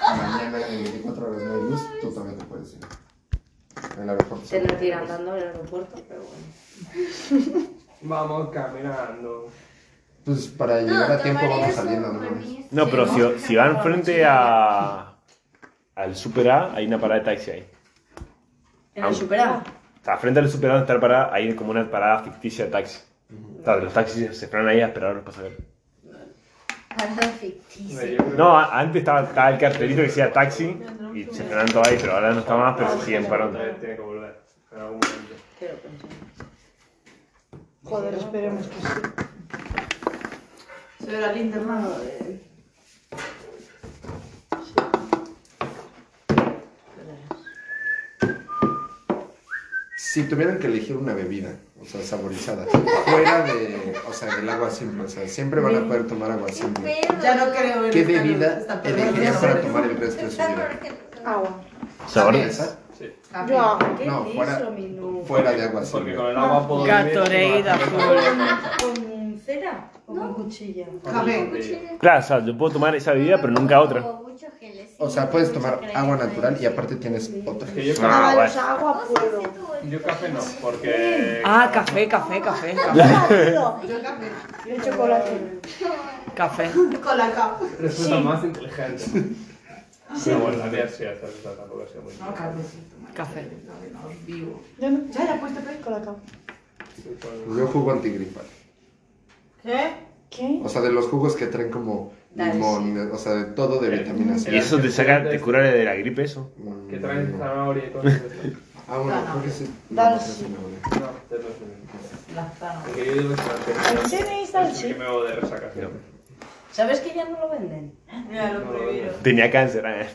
a mañana en 24 horas no hay luz, tú también te puedes ir. En el aeropuerto.
Se nos tira andando en el aeropuerto, pero bueno.
Vamos caminando.
Pues para llegar a tiempo vamos
tomaría
saliendo,
su
¿no?
permiso.
No, pero si, si van frente a al Super A, hay una parada de taxi ahí.
En el superado.
O sea, frente al Super A donde está la parada, hay como una parada ficticia de taxi. O sea, los taxis se paran ahí a esperar a los pasajeros.
Me llevo-
No, a- antes estaba, estaba el cartelito que decía taxi y se frenan todos ahí, pero ahora no está más, pero se siguen parando.
Otra vez Tiene que volver. En algún momento.
Quiero pensar.
Joder, esperemos que sí.
Se ve la linterna. eh,
Si tuvieran que elegir una bebida, o sea, saborizada, fuera de, o sea, del agua simple, o sea, siempre van a poder tomar agua simple.
Ya no creo en
¿Qué
esta
bebida
luz, está
elegirían
perdiendo.
para tomar el resto de su vida?
Ah,
Agua.
¿Saborizada?
Yo agua.
No, fuera,
Minu?
fuera de agua simple. Porque con el
agua puedo
Gatorade,
¿Con con cera o con cuchilla?
Claro, o sea, yo puedo tomar esa bebida, pero nunca otra.
O sea, puedes tomar agua natural y aparte tienes otra.
Ah, bueno.
agua puedo.
Yo café no, porque.
Ah, café, café, café.
Yo café. Yo chocolate.
Café.
Con la capa.
Resulta
Sí.
más inteligente. Pero bueno, la mía sí, esta resulta tampoco ha sido muy
Café.
Vivo.
Ya, no- ya le he puesto pez con la capa.
Yo jugo antigripal.
¿Qué?
¿Qué?
O sea, de los jugos que traen como limón, o sea, de todo de vitaminas.
¿Y eso te saca, te cura de la gripe eso?
Que traen zanahoria y cosas de estas.
Ah, bueno, creo que sí.
No, te lo
La zanahoria.
Porque yo digo
¿En serio ahí está el
Es porque
chip?
me voy de resaca siempre.
¿Sabes que ya no lo venden? Ya lo prohibieron.
Tenía cáncer, ¿eh?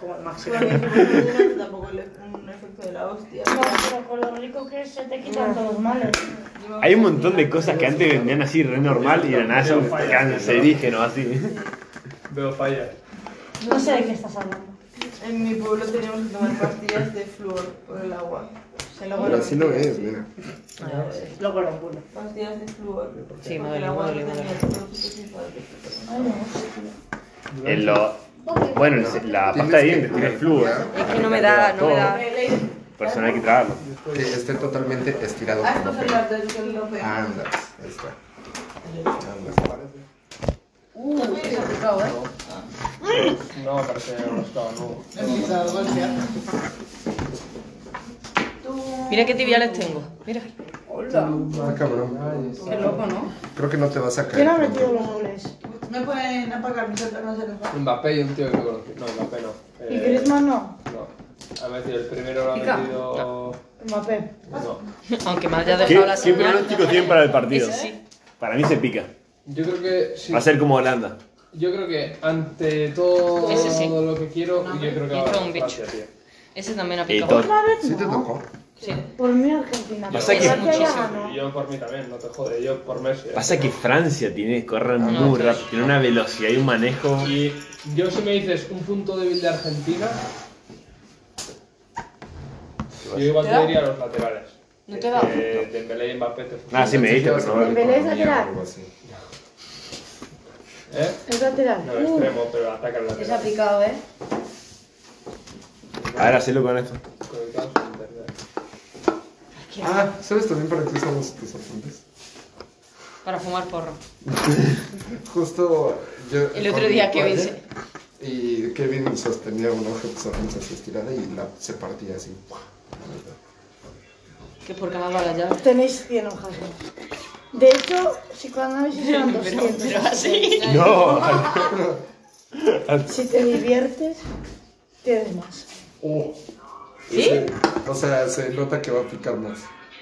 Como el máximo.
Tampoco le- un efecto de la hostia.
No, pero con lo rico que es, se te
Ah.
quitan todos los males.
Hay un montón de cosas que antes vendían así re normal y de la nada son cancerígenos así.
Veo fallas.
No sé de qué estás hablando.
En mi pueblo teníamos que tomar pastillas de flúor por el agua. Se lo
Pero así lo es, mira.
Luego lo pulo.
Pastillas de flúor.
Sí,
Porque
me duele,
el agua
me duele,
no
me
tenía
duele.
todos los efectos.
En lo- Bueno, el- la pasta de dientes tiene flúor.
Es que no me da, no me da.
Personal hay que tragarlo.
Que esté totalmente estirado
Ah, esto
como
se
pelo.
las del del lope.
Andas, ahí está. Andas.
Uh, qué complicado, ¿eh?
No, parece roscado, no.
Mira qué tibiales tengo. Mira.
Ah, cabrón.
Qué loco, ¿no?
Creo que no te vas a
¿Quién ha
caer.
metido los goles?
Me pueden apagar mis otras no se los va.
Mbappé y un tío que no conocí. No, Mbappé no.
¿Y
Eh,
Griezmann no?
No. A ver, el primero lo ha
Pica.
metido.
Mbappé.
No.
Aunque me haya
¿Qué,
dejado la
qué
señal.
pronóstico tienen para el partido?
Ese sí.
Para mí se pica.
Yo creo que sí.
Va a ser como Holanda.
Yo creo que ante todo
Ese sí.
lo que quiero, yo creo que va a
Hizo
ganar
un
Francia, tío.
Ese también ha
Eh,
picado.
Tot-
¿Sí te tocó?
Por mí Argentina.
Pasa que-
Croacia ya
Sí,
ganó.
y Yo por mí también, no te jode, yo por Messi. eh.
Pasa que Francia tiene, corre muy
no.
rápido, tiene una velocidad y un manejo.
Y yo si me dices un punto débil de Argentina, yo igual
¿Te
te
da?
diría los laterales.
¿No te da?
Eh, Dembélé y Mbappé te
Ah, sí me dice, pero no.
Dembélé es lateral.
¿Eh?
Es lateral.
No,
Uh,
extremo, pero ataca el
Esa ha
lateral.
picado, ¿eh?
Ahora hacelo con esto.
Conectados por internet.
Ah, ¿sabes también para qué usamos tus apuntes?
Para fumar porro.
Justo yo.
El otro día
con mi
Kevin
padre, Y Kevin sostenía un hoja de sus apuntes así estirada y la, se partía así.
Que porque me ha dado la llave.
Tenéis 100 hojas. De hecho, psicoanálisis eran
Pero-
200.
pero así.
No.
Si te diviertes, tienes más.
Oh. ¿Sí? O sea, se nota que va a picar más.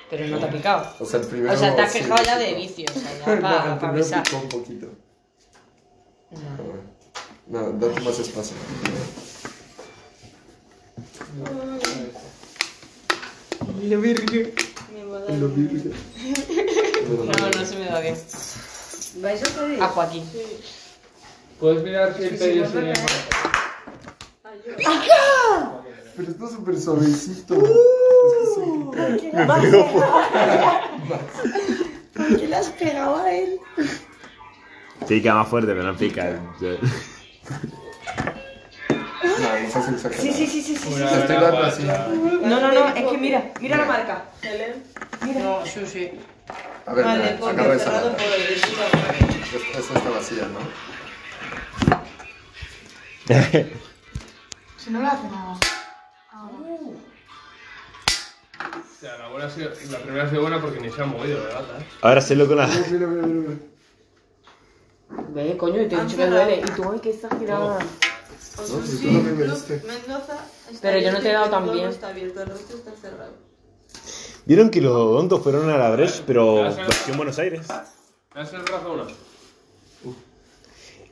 Pero no te ha picado.
O sea, el primero.
O sea, te has
sí,
quejado
sí,
ya
sí.
de vicio. O sea, ya
No,
para,
el
para
primero
avisar.
picó un poquito. No, date más espacio. La virgen. La virgen.
No, no se me da bien.
¿Vais a pedir?
A Joaquín.
Puedes mirar si este
sí,
el pedido
sí,
sería.
Pero está súper suavecito.
Va a ser- ¿Por qué le has pegado a él?
Pica más fuerte, pero no pica.
No, no seas exagerado.
Sí, sí, sí, sí, sí, sí.
Te estoy dando así.
No, no, no, es que mira, mira la marca. Mira.
No, sí, sí.
A ver,
Vale,
mira,
porque
agarra esa
cerrado
lata.
por el
Esta esta está vacía, ¿no?
Si no le hace nada.
O sea, la, buena ha sido- la primera ha sido buena porque ni se ha movido la lata. ¿eh?
Ahora hacelo con la.
Mira, mira, mira. mira.
Ve, coño, y te he dicho que duele. Y tú, ay, que estás girada.
No, pues tú no me viste.
Mendoza está
Pero yo no te he dado tan
abierto, el
bien.
pueblo Está abierto, el resto está cerrado.
Vieron que los odontos fueron a la Breche, pero versión Buenos Aires.
¿Me has el raza uno?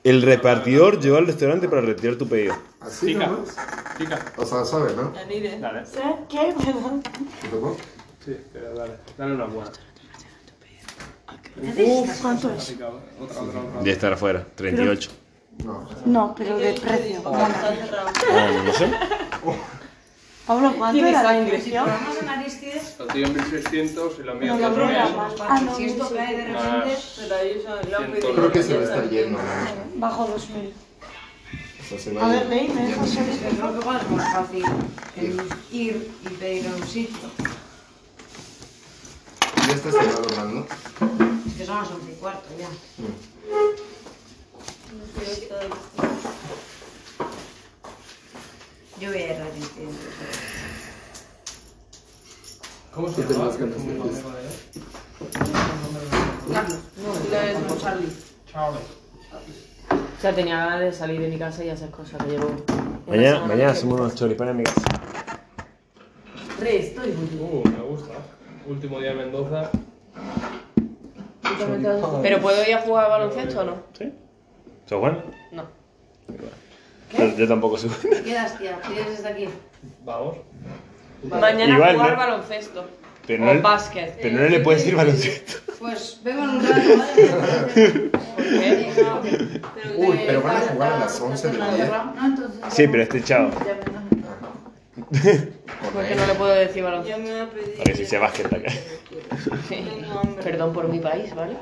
El repartidor llegó al restaurante para retirar tu pedido.
Así
Pica.
nomás.
Pica.
O sea, suave, ¿no?
Yanire.
Dale.
¿Sabes qué? Perdón.
¿Te tocó?
Sí, pero dale, dale una buena.
Uf, ¿cuánto es?
Otra, otra, otra.
De estar afuera, 38.
No, pero de precio.
Ah, no sé.
Pablo, ¿cuánto
Tiene
era?
sangre.
precio?
a Marisquez,
La tuya en 1600 y la mía
No, la
cuatro mil.
broma. Ah, no,
si esto
sí.
cae de repente,
Más
Pero ahí ya le han pedido.
Creo que se va a estar yendo. ¿no?
Bajo 2000.
O sea, se va
A
ir.
ver, leí, me
Ya
dejas
no-
solo.
yo creo que igual es más fácil el ir y pedir a un sitio.
Ya está cerrado, más, ¿no?
Es que son las once y cuarto ya. Yo voy a ir resistiendo.
¿Cómo se
Te
llama?
vas ganando
¿Cómo
pues.
se llama ella?
Carlos, no,
La de
no, Charlie.
Charlie.
O sea, tenía ganas de salir de mi casa y hacer cosas que llevo. una
Mañana,
semana
mañana
haciendo.
hacemos unos choripanes en mi casa.
Resto y voy.
Uh, me gusta. Último día en Mendoza.
¿Pero puedo ir a jugar al baloncesto o no?
Sí. ¿Sos bueno?
No.
Yo, yo tampoco soy bueno.
¿Te quedas, tía? ¿Quieres desde aquí?
Vamos.
Mañana
Igual,
jugar
¿no?
baloncesto.
Pero
o
no, le-
básquet.
pero no le puedes decir baloncesto.
Pues vengo en un rato, ¿vale?
¿Qué?
Uy, pero van a jugar a las 11 del día.
No, entonces.
Sí, pero este chavo.
Porque no le puedo decir baloncesto.
Yo me voy a pedir.
A ver si se básquet acá.
Tengo hambre.
Perdón por mi país, ¿vale?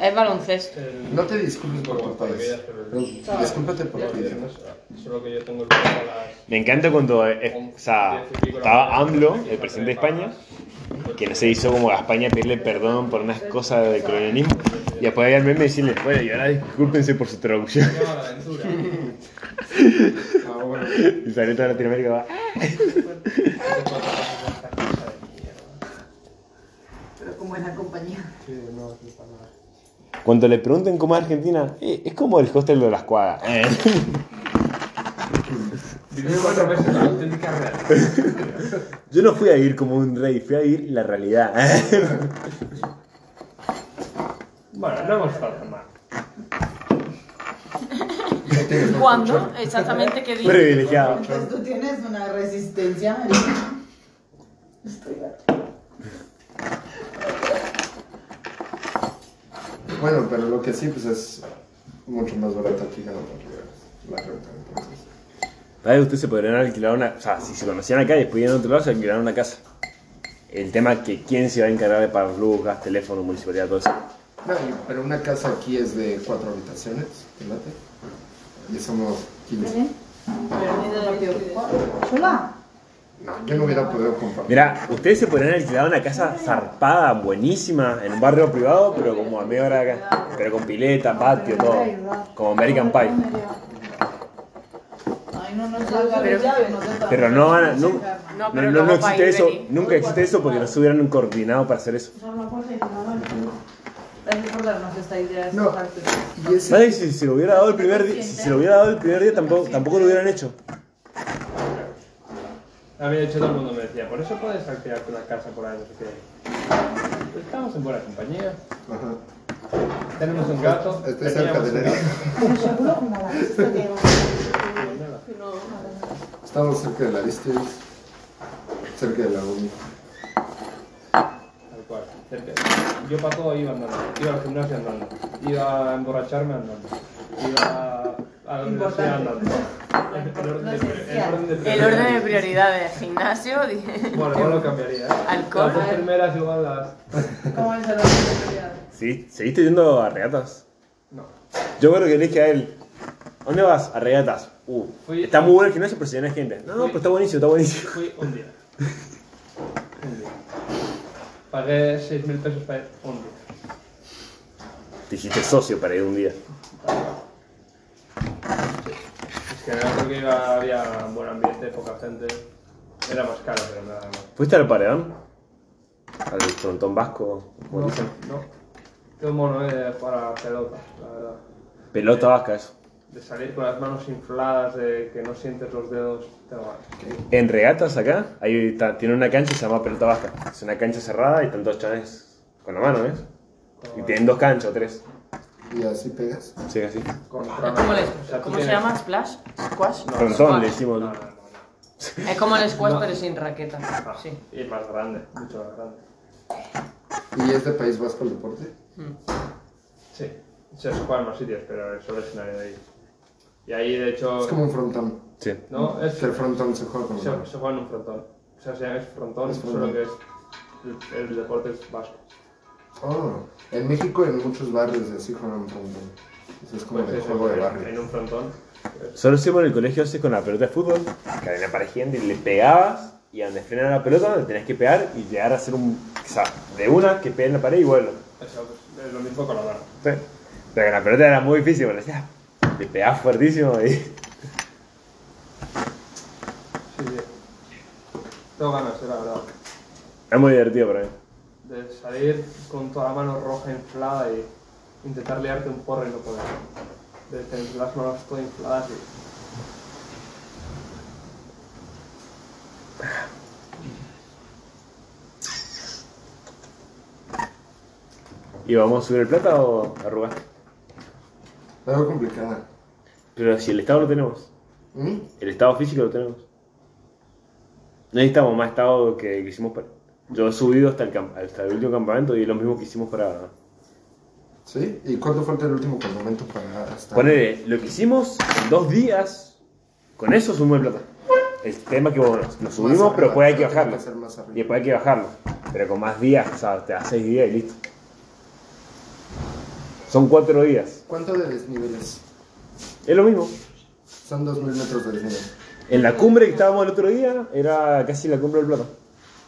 Es baloncesto.
El...
No te disculpes por tu país. Pero Discúlpate por tu idioma.
Solo que yo tengo el vuelo a las
Me encanta cuando eh, o sea, estaba AMLO, el presidente de España, que no se hizo como a España pedirle perdón por unas cosas del colonialismo. Y después había el meme y decirle, bueno, y ahora discúlpense por su traducción.
Llama la aventura.
Ah, bueno.
Y salió toda Latinoamérica. va, "Ah".
Hace cuatro años esta cosa de mierda.
Pero con buena compañía.
Sí, no, no pasa nada.
Cuando le pregunten cómo es Argentina, "Eh, es como el hostel de las cuadras. Eh.
Viví cuatro meses en la auténtica realidad.
Yo no fui a ir como un rey, fui a ir la realidad. Eh.
Bueno, no hemos estado tan mal.
¿Cuándo? Exactamente qué día.
Privilegiado.
Pues tú tienes una resistencia, marica. Estoy harta.
Bueno, pero lo que sí, pues es mucho más barato aquí que en otros lugares. La renta, entonces.
Tal vez ustedes se podrían alquilar una. O sea, si se conocían acá y después iban a otro lado, se alquilaron una casa. El tema es que quién se va a encargar de pagar luz, gas, teléfono, municipalidad, todo eso.
No, y- pero una casa aquí es de cuatro habitaciones, ¿te late? Y somos 15.
¿Sola?
No, yo no hubiera podido compartir.
Mira, ustedes se podrían alquilar una casa zarpada, buenísima, en un barrio privado, pero como a media hora de acá. Pero con pileta, patio, todo. Como American Pie.
Ay, no nos salga
Pero-
la llave, no te toca.
Pero no van a- no-
No,
No,
pero
no, no
luego para
existe
ir
eso,
venir.
nunca existe eso porque no se hubieran coordinado para hacer eso.
Gracias por darnos esta idea.
No. Y ese,
¿Sabes? Si se lo hubiera dado el primer día, si se lo hubiera dado el primer día, tampoco, tampoco lo hubieran hecho.
A mí, de hecho, todo el mundo me decía, por eso puedes alquilarte una casa por ahí, no sé qué. Estamos en buena compañía,
Ajá.
tenemos un gato,
Estoy cerca
teníamos
de
un
la-
gato.
Seguro que nada, esto que digo.
Estamos cerca de la Aristides, cerca de la uni.
Tal cual, cerca. Yo para todo iba andando, iba al gimnasio andando, iba a emborracharme andando, iba a- a la universidad andando. El orden de pri- el orden de
El orden de prioridades, gimnasio,
prioridades. Bueno, igual lo cambiaría. ¿eh?
Alcohol.
Las dos primeras igual las...
¿Cómo es el orden de prioridades?
¿Sí? ¿Seguiste yendo a regatas?
No.
Yo creo que le dije a él, ¿a ¿dónde vas? A regatas. Uh,
Fui-
está muy bueno el gimnasio, pero se llena de gente. No, no, pero está buenísimo, está buenísimo.
Fui un día. Un día. Pagué 6.000 pesos para ir un día.
Te hiciste socio para ir un día.
Es que era porque iba, había buen ambiente, poca gente. Era más caro, pero nada más.
¿Fuiste al paredón? Al frontón vasco, como
No,
dicen.
no. Qué mono eh, para pelota, la verdad. Eh.
Pelota vasca, eso.
De salir con las manos infladas, de que no sientes los dedos, tengo ganas.
En regatas acá, ahí está, tiene una cancha que se llama pelota vasca. Es una cancha cerrada y están dos chavales con la mano, ¿ves? Y tienen dos canchas o tres.
Y así pegas.
Sí, así.
Con
¿Cómo, le-
o sea, tú
cómo se
tienes-
llama? ¿Splash? ¿Squash?
Frontón le decimos.
No, no,
¿no?
no, no.
Es Eh, como el squash, pero sin raqueta. Sí.
Y es más grande, mucho más grande.
¿Y es de País Vasco el deporte?
Sí, se juega en más sitios, pero el escenario de ahí. Y ahí, de hecho.
Es como un frontón.
Sí.
No, es-
Que el frontón se juega con la mano.
Se, se juega en un frontón. O sea, se- es frontón,
Es frontón.
solo que es. El, el deporte es vasco.
Oh, en México en muchos barrios de así juegan frontón. Eso es como
Pues
el
es
juego de
en-
barrio.
En un frontón.
Solo siempre en el colegio haces con la pelota de fútbol, cadena para gente, le pegabas y a donde frena la pelota le tenías que pegar y llegar a hacer un. O sea, de una que pegue en la pared y vuelo.
O sea, pues, es lo mismo con la mano.
Sí. Pero con la pelota era muy difícil, porque le hacías- le pegabas fuertísimo y.
Sí, sí. Tengo ganas, eh, la verdad.
Es muy divertido para mí.
De salir con toda la mano roja inflada y intentar liarte un porro y no poder. De tener las manos todas infladas y.
¿Y vamos a subir el plata o arrugas?
Algo complicada.
Pero si el estado lo tenemos.
¿Mm?
El estado físico lo tenemos. No necesitamos más estado que, que hicimos para. Yo he subido hasta el, camp- hasta el último campamento y es lo mismo que hicimos para.
¿Sí? ¿Y cuánto falta el último campamento para estar?
Ponele, lo que hicimos en dos días, con eso sumo el plata. El tema que bueno, lo subimos,
arriba,
pero después hay que
creo que hay que
bajarlo.
hacer más arriba.
y después hay que bajarlo. Pero con más días, o sea, te das seis días y listo. Son cuatro días.
¿Cuánto de desniveles?
Es lo mismo.
Son 2.000 metros de desnivel.
En la cumbre que estábamos el otro día, era casi la cumbre del plata.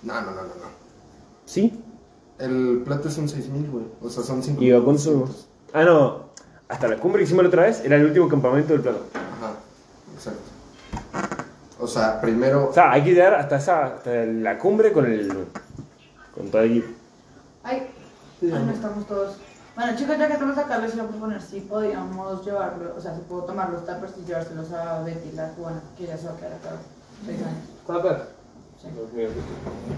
No, no, no, no. no.
¿Sí?
El plato son 6.000, güey. O sea, son 5.000.
¿Y a cuánto subimos? Ah, no. Hasta la cumbre que hicimos la otra vez era el último campamento del plata.
Ajá, exacto. O sea, primero.
O sea, hay que llegar hasta, esa, hasta la cumbre con el. con todo el equipo.
Ay, ah, no estamos todos. Bueno, chicos, ya que estamos acá, les iba a proponer si podíamos llevarlo, o sea, si puedo tomar los tappers y llevárselos a Betty, la cubana, que ya se va a quedar acá seis años.
¿Tapas? Dios mío.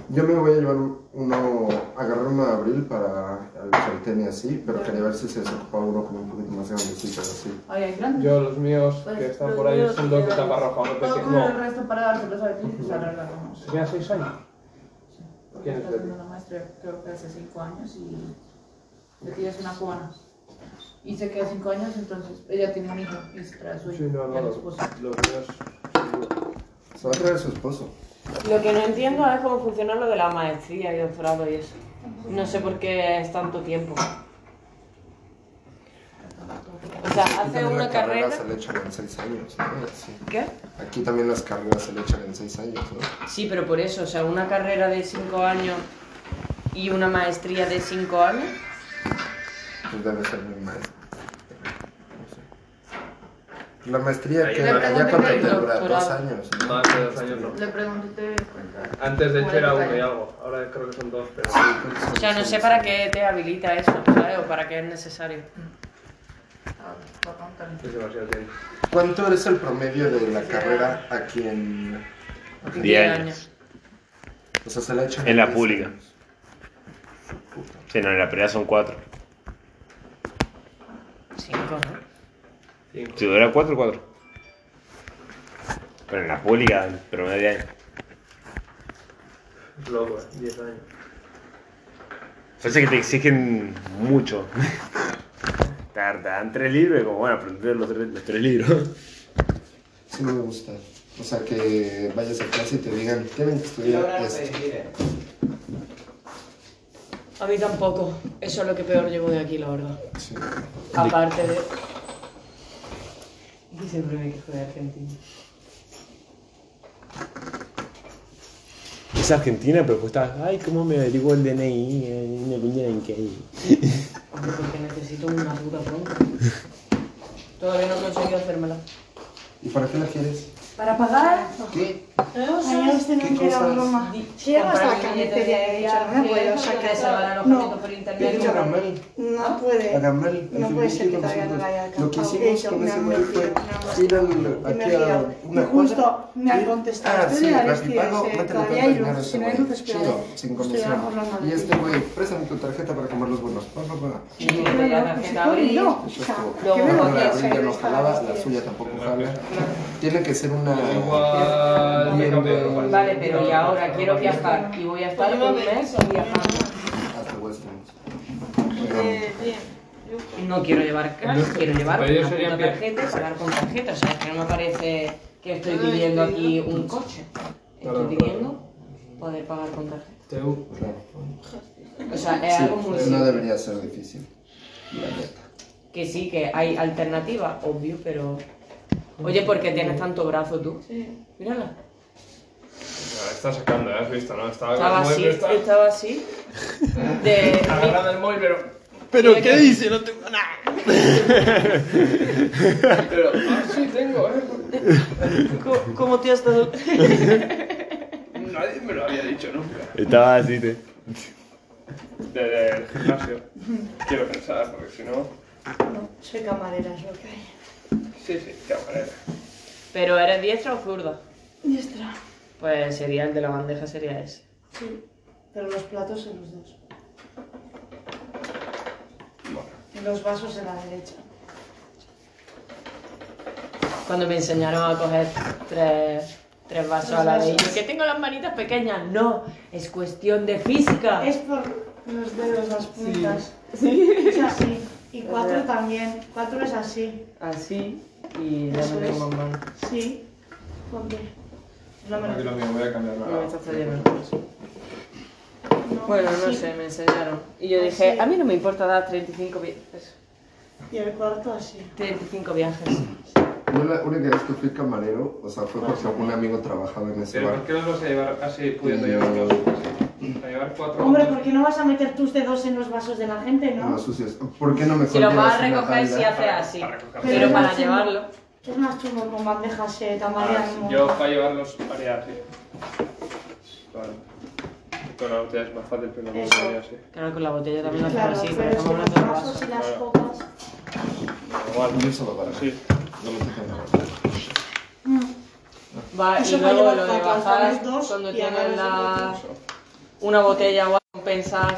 Yo me voy a llevar uno. Agarrar uno de abril para el sartén y así, pero quería ver si se desocupaba uno como un poquito más grandecito así.
Ay, hay grandes.
Yo, los míos
Pues,
que están
los
por ahí
míos
son dos de
que-
tapa roja, uno
Puedo
pequeño.
comer el
No,
resto para dárselos a Betty y pues se arreglamos.
tenía seis años.
Porque
¿Quién
está
es Betty?
haciendo una maestría, creo que hace cinco años y Betty es una cubana. Y se queda cinco años, entonces ella tiene un hijo y se trae a su hijo.
Sí, no, no,
y a la
los,
esposa.
los míos.
Se va a traer su esposo.
Lo que no entiendo es cómo funciona lo de la maestría y doctorado y eso. No sé por qué es tanto tiempo. O sea,
Aquí
hace
también
una
la carrera
carrera.
se le echan en 6 años. ¿no? Sí.
¿Qué?
Aquí también las carreras se le echan en 6 años. ¿no?
Sí, pero por eso, o sea, una carrera de 5 años y una maestría de 5 años.
Pues debe ser muy mal. La maestría
Ahí
que
me
allá
pregunté
cuando
que el
te dura dos
doctorado.
años.
Más de dos años no.
Le pregunté, te cuenta.
Antes de hecho
Ahora
era uno y
que está
algo, ahora creo que son dos, pero.
O sea, no sé para qué te habilita eso, ¿sabes? O para qué es necesario.
Es demasiado tiempo.
¿Cuánto es el promedio de la carrera aquí en
Diez
Diez
años.
años.
O sea, se la echan
En la
seis
pública.
años.
Sí, no, en la pelea son cuatro.
5, ¿no?
Si dura cuatro, cuatro. Pero en la pública, en promedio de año.
Es loco, eh, diez años.
Parece que te exigen mucho. Te dan- te dan tres libros y como, bueno, aprender los tres, los tres libros.
Sí me gusta. O sea, que vayas a clase y te digan, tienen que
Y ahora
estudiar
no
esto.
A mí tampoco. Eso es lo que peor llevo de aquí, la verdad.
Sí.
Aparte de. Y siempre me quejo de Argentina.
Es Argentina, pero pues está, ay, ¿cómo me averiguo el DNI? Eh, no tenía en qué hay.
Hombre, porque necesito una puta pronto. Todavía no he conseguido hacérmela.
¿Y para qué la quieres?
¿Para pagar?
¿Qué?
Ayer usted no quiere a Roma. Si llego hasta la carnicería y he este dicho, no me puedo sacar No,
Pídele a Gamal.
no puede.
A Gamal.
No
al
puede
que
ser que
nosotros.
todavía no la haya
Lo que
alcanzado.
hicimos
Eso,
con
me
ese
han
güey fue ir al,
me
aquí
han
a
liado.
una
Y
cuadra.
justo me han
y-
contestado,
Ah,
estoy
sí,
en la
Rapipago,
vestida, todavía
mételo para
hay
terminar
luz,
ese
si no hay
güey.
luz, espera,
Chido,
eh.
sin
Estoy
comisión.
abajo la
Y
maletita.
este güey, préstame tu tarjeta para comprar los Pues, bonos. Pa, pa, pa.
Y le doy la tarjeta a Abril.
Eso estuvo.
Luego-
No, la de Abril ya no jalaba, la suya tampoco jala. Tiene que ser un nada.
Igual me cambio de ropa.
Vale, pero y ahora
Pues
quiero viajar y voy a estar un mes viajando.
Hasta Western.
Eh, No quiero llevar cash, quiero llevar
Pero yo
una
sería
puta
pie.
tarjeta y pagar con tarjeta. O sea, es que no me parece que estoy pidiendo aquí un coche. Estoy
Claro,
pidiendo poder pagar con tarjeta.
Teu.
O sea, es
Sí,
algo muy
No
simple.
debería ser difícil. La neta.
Que sí, que hay alternativas, obvio, pero... Oye, ¿por qué tienes tanto brazo tú? Sí. Mírala.
Ah, Está sacando, ¿eh? ¿Has visto, no? Estaba,
Estaba
muy
así,
presta.
estaba así. De...
Agarrando el móvil, pero...
¿Pero qué
dice? No tengo nada. pero... Ah, sí, tengo, ¿eh?
¿Cómo, cómo te has dado...?
Nadie me lo había dicho nunca.
Estaba así, te.
Desde el gimnasio. Quiero pensar, porque si no...
No, soy camarera, es lo que hay.
Sí, sí, camarera.
¿Pero eres diestra o zurda?
Diestra.
Pues sería el de la bandeja, sería ese.
Sí. Pero los platos en los dos. Y los vasos en la derecha.
Cuando me enseñaron a coger tres, tres vasos
Tres
a la vez. y
vasos.
yo, que tengo las manitas pequeñas. No, es cuestión de física.
Es por los dedos, las puntas.
Sí.
Es así. Y
Es
cuatro
verdad.
también. Cuatro es así.
Así y ya
Eso
me tengo más mal.
Sí. Ponte. No me
Aquí lo mismo, voy a cambiar la...
No me está saliendo el pulso. Bueno, no
así.
sé, me enseñaron. Y yo dije, a mí no me importa dar 35 viajes.
Y el cuarto así.
35 viajes.
Yo la única vez que fui camarero, o sea, fue porque un amigo trabajaba en ese
Pero
bar.
¿por qué no los vas a llevar así, pudiendo llevarlos así? A llevar cuatro...
Mm. Hombre, ¿por qué no vas a meter tus dedos en los vasos de la gente, no?
Los sucios. ¿Por qué no me
Si lo vas a
llevas una
recoger, si
falda?
hace así.
recogerlo.
Pero
es
para
más
llevarlo.
chungo- Es más chungo con bandejas eh,
Ah,
tambalean un
yo
montón.
para llevarlos haría así. Vale. Con la botella es más fácil, pero no
Eso.
haría así.
Claro, con la botella también lo hacen
Claro,
así, pero
pero es
estamos
que los
hablando de
vasos
vasos.
y las
Claro.
copas...
Igual,
yo solo para.
Sí.
No me toca nada.
Va, y
Eso para
luego
llevar
lo de
papas,
bajar
los dos
cuando
y agarras
tienes
el
la... una botella o algo, pensás